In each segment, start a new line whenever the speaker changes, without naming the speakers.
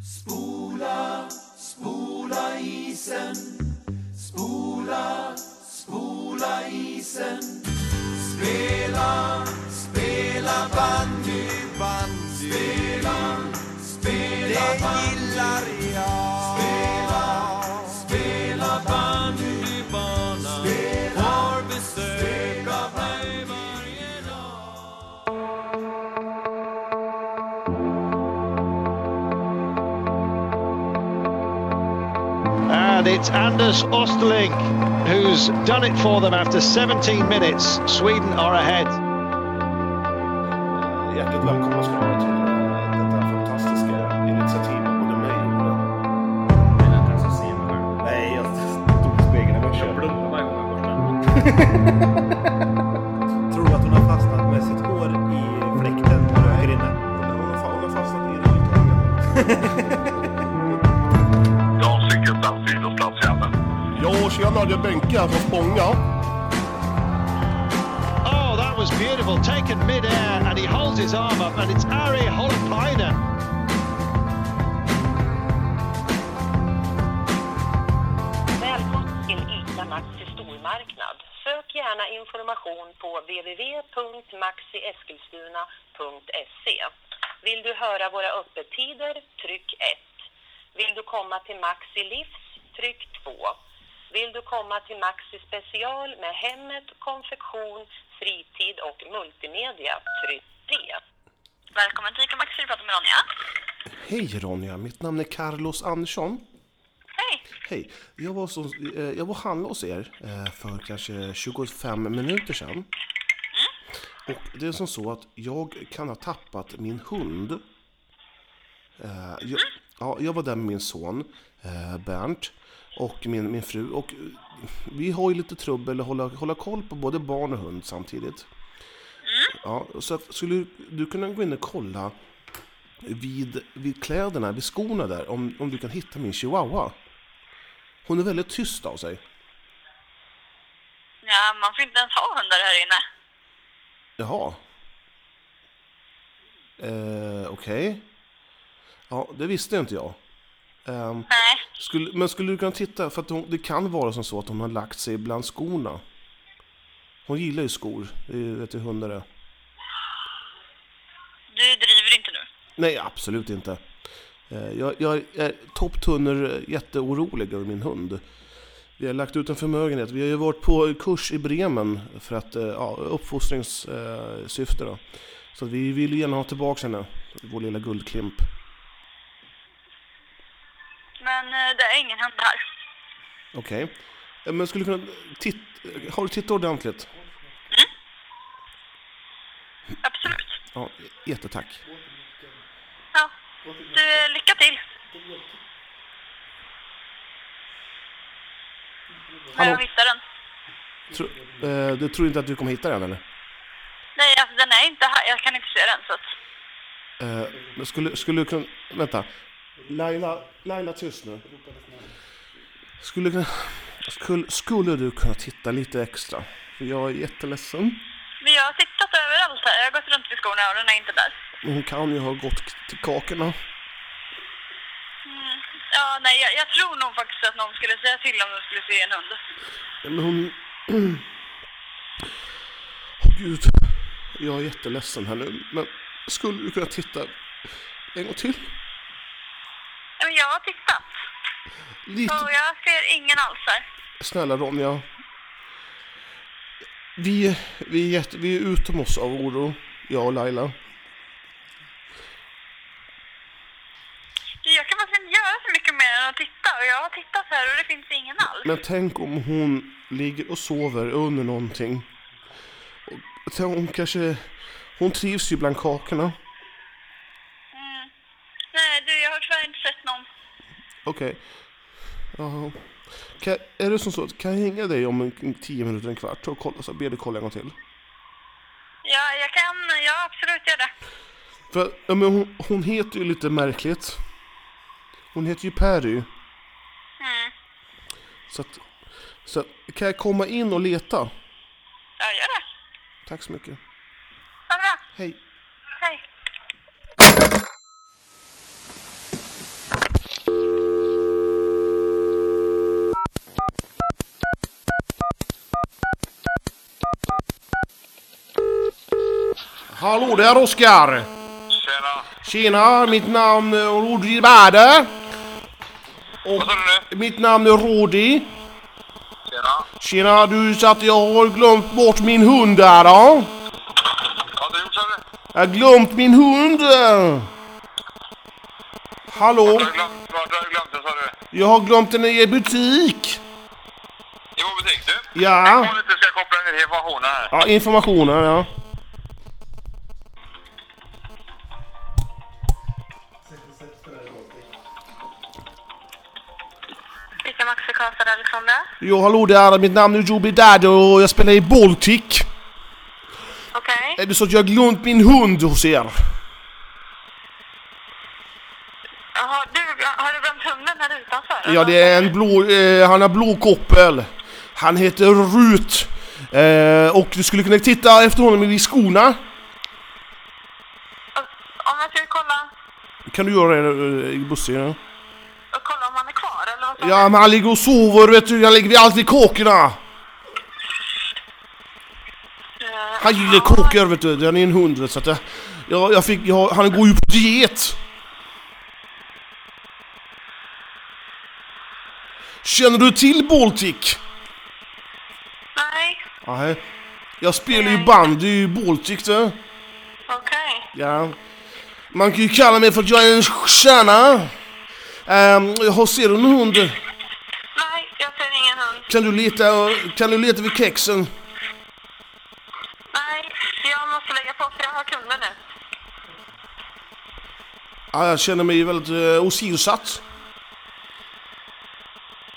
Spola, spola isen. Spola, spola isen. Spela, spela bandy, bandy. Spela, spela Det gillar jag. Spela, spela bandybanan. Har besök av mig varje dag.
And it's Anders Osterling who's done it for them after 17 minutes. Sweden are ahead.
Eh, Hjärtligt välkomna ska ni vara till eh, detta fantastiska initiativ av både mig och den. Nej, jag stod i spegeln i morse.
Tror att hon har fastnat med sitt hår i fläkten på röker inne.
Men vad fan, Hon har fastnat i ryggen.
Jag cykelplats, sidoplats, jäveln.
Ja, tjena, det är Benke här från Spånga.
Oh, that was beautiful. Taken mid-air and he holds his arm up and it's Ari Holpainen.
Välkommen till ICA Maxi stormarknad. Sök gärna information på www.maxieskilstuna.se. Vill du höra våra öppettider? Tryck 1. Vill du komma till Maxi Livs? Tryck 2. Vill du komma till Maxi Special med hemmet, konfektion, fritid och multimedia? Tryck 3.
Välkommen till ICA Maxi, du pratar med Ronja.
Hej Ronja, mitt namn är Carlos Andersson.
Hej!
Hej, jag var, så, eh, jag var och handlade hos er eh, för kanske 25 minuter sedan. Och det är som så att jag kan ha tappat min hund. Eh, Jag, ja, jag var där med min son eh, Bernt och min, min fru. Och eh, vi har ju lite trubbel att hålla, hålla koll på både barn och hund samtidigt. Ja, så att, skulle du kunna gå in och kolla vid, vid kläderna, vid skorna där, om, om du kan hitta min chihuahua? Hon är väldigt tyst av sig.
Ja, man får inte ens ha hundar här inne.
Jaha. Eh, Okej. Ja, det visste inte jag. Ehm,
Nej.
skulle, men skulle du kunna titta? För att hon, det kan vara som så att hon har lagt sig bland skorna. Hon gillar ju skor. Det är ju vet du hur hundar är.
Du driver inte nu.
Nej, absolut inte. Eh, jag, jag är topptunner jätteorolig över min hund. Vi har lagt ut en förmögenhet. Vi har ju varit på kurs i Bremen för att, eh, ja, uppfostringssyfte eh, syfte då. Så att vi vill ju gärna ha tillbaka henne, vår lilla guldklimp.
Men eh, det är ingen hund här.
Okej. Eh, Men skulle du kunna... Titt, har du tittat ordentligt?
Absolut.
Ja, jättetack.
Ja. Du, eh, lycka till! När
Hallå?
jag hittar den.
Tro, eh, du tror inte att du kommer hitta den eller?
Nej, alltså den är inte här. Jag kan inte se den så att...
Eh, men skulle, skulle du kunna... Vänta. Laila, Laila tyst nu. Skulle, kunna- skulle, skulle du kunna titta lite extra? För jag är jätteledsen.
Men jag har tittat överallt här. Jag har gått runt vid skorna och den är inte där.
Men Hon kan ju ha gått k- till kakorna.
Ja, nej, jag, jag tror nog faktiskt att någon skulle säga till om de skulle se en hund.
Men hon... Åh, gud. Jag är jätteledsen här nu. Men skulle du kunna titta en gång till?
Ja, Men jag har tittat.
Lite,
Och jag ser ingen alls här.
Snälla Ronja. Vi, vi, är jätte, vi är utom oss av oro, jag och Laila.
Du, Jag kan faktiskt inte göra så mycket mer än att titta och jag har tittat här och det finns ingen alls.
Men tänk om hon ligger och sover under någonting. Och tänk, hon kanske... Hon trivs ju bland kakorna.
Nej du, jag har tyvärr inte sett någon.
Okej. Ja. Kan, är det som så att kan jag hänga dig om en, en tio minuter, en kvart och kolla, så ber dig kolla en gång till?
Ja, jag kan, jag absolut gör det.
För ja, men hon, hon heter ju lite märkligt. Hon heter ju Perry.
Mm.
Så att, så att, kan jag komma in och leta?
Jag gör det.
Tack så mycket.
Ha det bra.
Hej.
Hej.
Hallå där Oskar!
Tjena!
Tjena, mitt namn är Rudi Bärde.
Vad sa du nu?
Mitt namn är Rudi.
Tjena!
Tjena, du så att jag har glömt bort min hund här då.
Vad har du gjort sa du?
Jag har glömt min hund. Hallå,
Vad har du glömt? Vad har du glömt det sa du?
jag har glömt den i er butik.
I vår butik du?
Ja,
Om du inte ska koppla ner informationen här.
ja informationen ja.
Ica Maxi Karlstad, Alexandra.
Jo, hallå där, mitt namn är Joby Daddy och jag spelar i Baltic.
Okej.
Är det så att jag har glömt min hund hos er?
Jaha, du, har du glömt hunden här utanför?
Ja, det är en blå... Eh, han har blå koppel. Han heter Rut. Eh, och du skulle kunna titta efter honom i skorna.
Om jag ska kolla,
Kan du göra det eh, i bussen?
och kolla om han är kvar eller vad sa
Ja, men han ligger och sover, vet du. Han ligger vid allt vid kåkorna.
du? Eh,
Han gillar
ja.
kåkor, vet du. Han är en hund, vet du. Så att jag, jag, jag fick, jag, han går ju på diet. Känner du till Baltic?
Nej,
Nej. Jag spelar ju bandy i Baltic, du.
okej.
Ja. Man kan ju kalla mig för att jag är en stjärna. Ehm, jag har ser du en hund?
Nej, jag ser ingen hund.
Kan du leta, kan du leta vid kexen?
Nej, jag måste lägga på för jag har kunder nu.
Ja, jag känner mig väldigt uh, åsidosatt.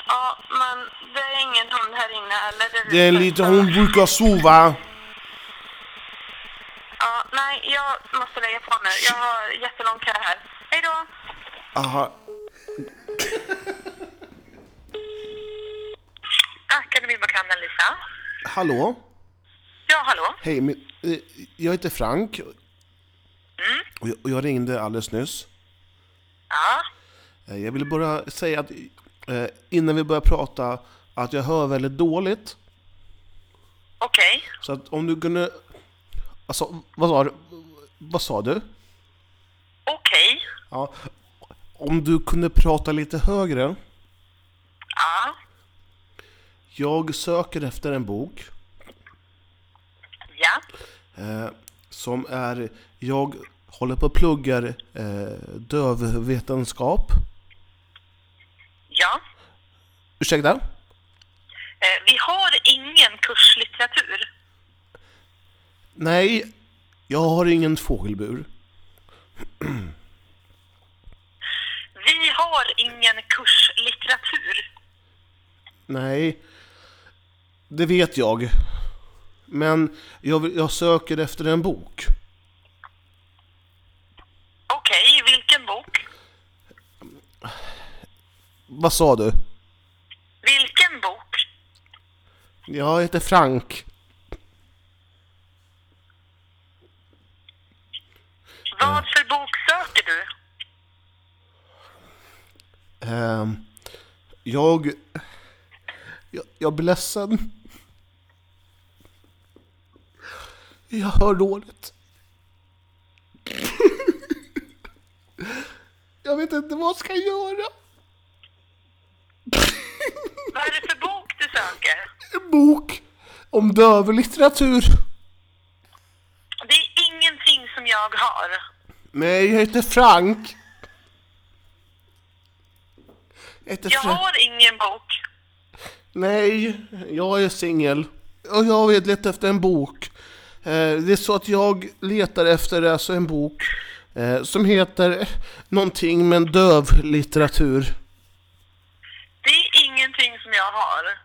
Ja, men det är ingen hund här inne eller? Det,
Det är en liten, hon brukar sova.
Ja, nej, jag måste lägga på nu. Jag har jättelång kö här. Hej då!
Aha.
Akademibokhandeln Lisa.
Hallå?
Ja, hallå?
Hej, min, eh, jag heter Frank. Och jag, och jag ringde alldeles nyss.
Ja.
Eh, Jag ville bara säga att eh, innan vi börjar prata att jag hör väldigt dåligt.
Okej.
Så att om du kunde... Alltså, vad sa du? Vad sa du?
Okej.
Ja. Om du kunde prata lite högre.
Ja.
Jag söker efter en bok
Ja.
eh, som är... Jag håller på och pluggar eh, dövvetenskap.
Ja.
Ursäkta?
Eh, vi har ingen kurslitteratur.
Nej, jag har ingen fågelbur.
Vi har ingen kurslitteratur.
Nej, det vet jag. Men jag, vill- jag söker efter en bok.
Okej, vilken bok?
Vad sa du?
Vilken bok?
Jag heter Frank.
Vad för bok söker du?
Ehm, jag, jag... Jag blir ledsen. Jag hör dåligt. Jag vet inte vad jag ska göra.
Vad är det för bok du söker?
En bok om dövlitteratur.
Det är ingenting som jag har.
Nej, jag heter Frank. Jag heter
Jag
Frank.
har ingen bok.
Nej, jag är singel. Och jag vill leta efter en bok. Eh, det är så att jag letar efter alltså en bok eh, som heter någonting med dövlitteratur.
Det är ingenting som jag har.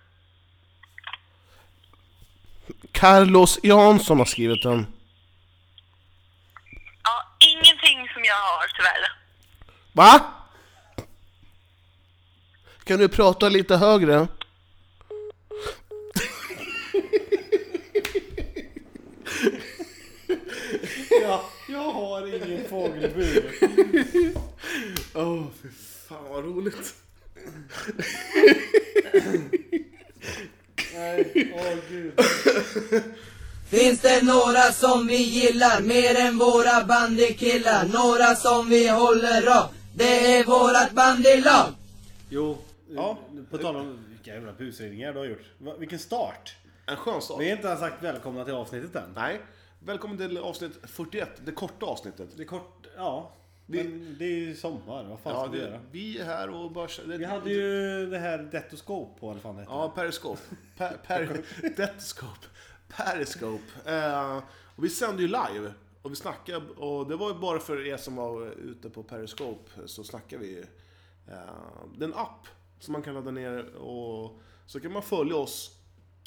Carlos Jansson har skrivit den.
Ja, ingenting som jag har tyvärr.
Va? Kan du prata lite högre?
Jag har ingen fågelbur.
Åh, fy fan vad roligt.
Nej, åh gud.
Finns det några som vi gillar mer än våra bandykillar? Några som vi håller av? Det är vårat bandylag!
Jo, eh,
Ja.
på tal om vilka jävla busringningar du har gjort. Va- Vilken start!
En skön start.
Vi har inte ens sagt välkomna till avsnittet än.
Nej. Välkommen till avsnitt 41, det korta avsnittet.
Det är kort, ja.
Vi-
Men det är ju sommar, vad fan
Ja,
ska vi
det,
göra?
vi är här och bara... Det,
Vi hade ju det här detoskop på, eller vad fan det heter.
Ja, Periscope. Per, per, Detscope. Periscope. Eh, och vi sänder ju live. Och vi snackar, och det var ju bara för er som var ute på Periscope, så snackar vi. Eh, det är en app som man kan ladda ner och så kan man följa oss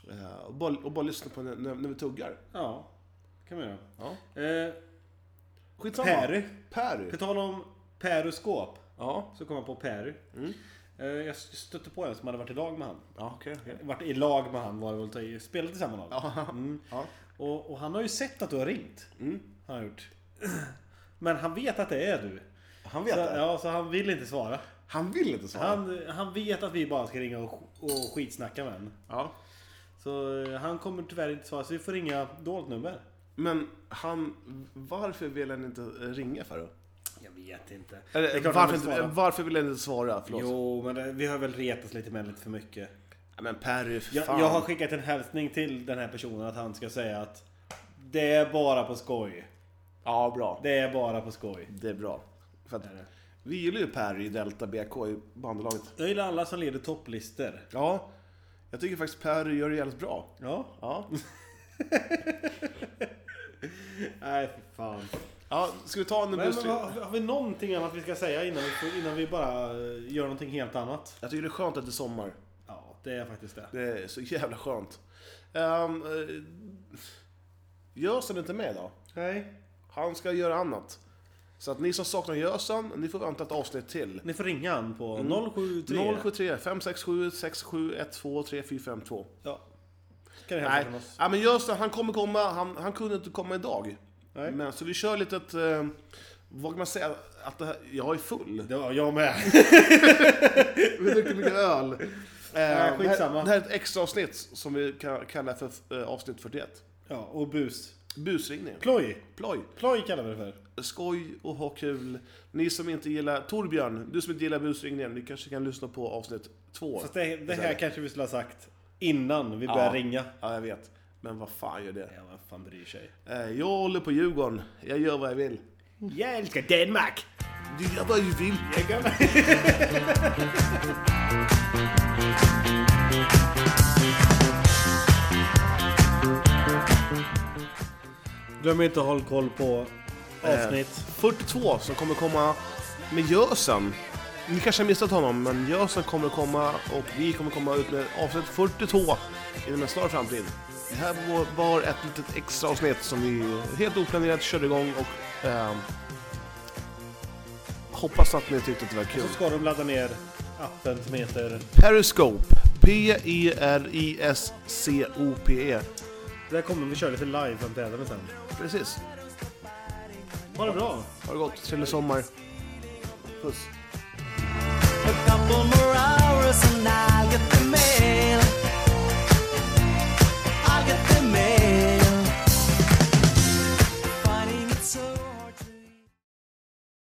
eh, och, bara, och bara lyssna på när, när, när vi tuggar.
Ja, kan man göra.
Ja.
Eh,
Skitsamma.
Perry.
Perry.
på tal om peruskop,
Ja. Mm.
så kom jag på Peru. Eh, jag stötte på en som hade varit i lag med han.
Ja, okej. okej.
Varit i lag med han var det väl, att ta i. spelat i samma lag. Mm.
Ja.
Och, och han har ju sett att du har ringt. Han har gjort. Men han vet att det är du.
Han
Så,
vet det.
ja, så han vill inte svara.
Han vill inte svara.
Han, han vet att vi bara ska ringa och, och skitsnacka med en.
Ja.
Så eh, han kommer tyvärr inte svara, så vi får ringa dolt nummer.
Men han, varför vill han inte ringa för då?
Jag vet inte.
Eller,
Det är klart han
varför,
vill
inte, eh,
svara.
varför vill han inte svara? Förlåt.
Jo, men det, vi har väl retats lite med lite för mycket.
Ja, Men Perry, för
Jag,
fan.
jag har skickat en hälsning till den här personen att han ska säga att det är bara på skoj.
Ja, bra. Det,
Det är bara på skoj.
är bra. För att, vi gillar ju Perry i Delta BK i bandlaget.
Jag gillar alla som leder topplistor.
Ja, jag tycker faktiskt Perry gör det jävligt bra.
Ja.
Ja.
Nej, fy fan.
ja ska vi ta en
Men, men,
busring?
har, har vi någonting annat vi ska säga innan vi, får- innan vi bara eh, gör någonting helt annat?
Jag tycker det är skönt att det är sommar.
Ja, det är faktiskt det.
Det är så jävla skönt. Um, uh, Gösen är inte med idag.
Nej.
Han ska göra annat. Så att ni som saknar Gösen, ni får vänta ett avsnitt till.
Ni får ringa han på 073.
073 567 6712 3452.
Ja. Kan det hälsa
Nej,
från oss?
ja, men just det, han kommer komma. Han, han kunde inte komma idag.
Nej.
Men, så vi kör lite ett... Eh, vad kan man säga? Att det här, jag är full.
Det var jag med.
Vi har druckit mycket öl. Eh,
skitsamma.
Det här, det här är ett extra avsnitt som vi kan kalla för eh, avsnitt 41.
Ja, och bus.
Busringning.
Ploj.
Ploj.
Ploj kallar vi det för.
Skoj och ha kul. Ni som inte gillar... Torbjörn, du som inte gillar busringningen, ni kanske kan lyssna på avsnitt två.
Fast det, det här kanske vi skulle ha sagt innan vi började
Ja.
ringa.
Ja, jag vet. Men vad fan gör det?
Ja, vem fan bryr sig?
Eh, jag håller på Djurgården. Jag gör vad jag vill.
Jag älskar Danmark!
Du gör vad du vill.
Glöm inte att hålla koll på avsnitt.
42 som kommer komma med Gösen. Ni kanske har missat honom, men Gösen kommer komma och vi kommer komma ut med avsnitt 42 inom en snar framtid. Det här var- var ett litet extra avsnitt som vi helt oplanerat körde igång och ehm, hoppas att ni tyckte att det var kul.
Så ska de ladda ner appen som heter...
Periscope. E P-E-R-I-S-C-O-P-E.
Där kommer vi köra lite live-framträdande sen.
Precis.
Ha det bra!
Ha det gott. Trevlig sommar. Puss.
A couple more hours and I'll get the mail.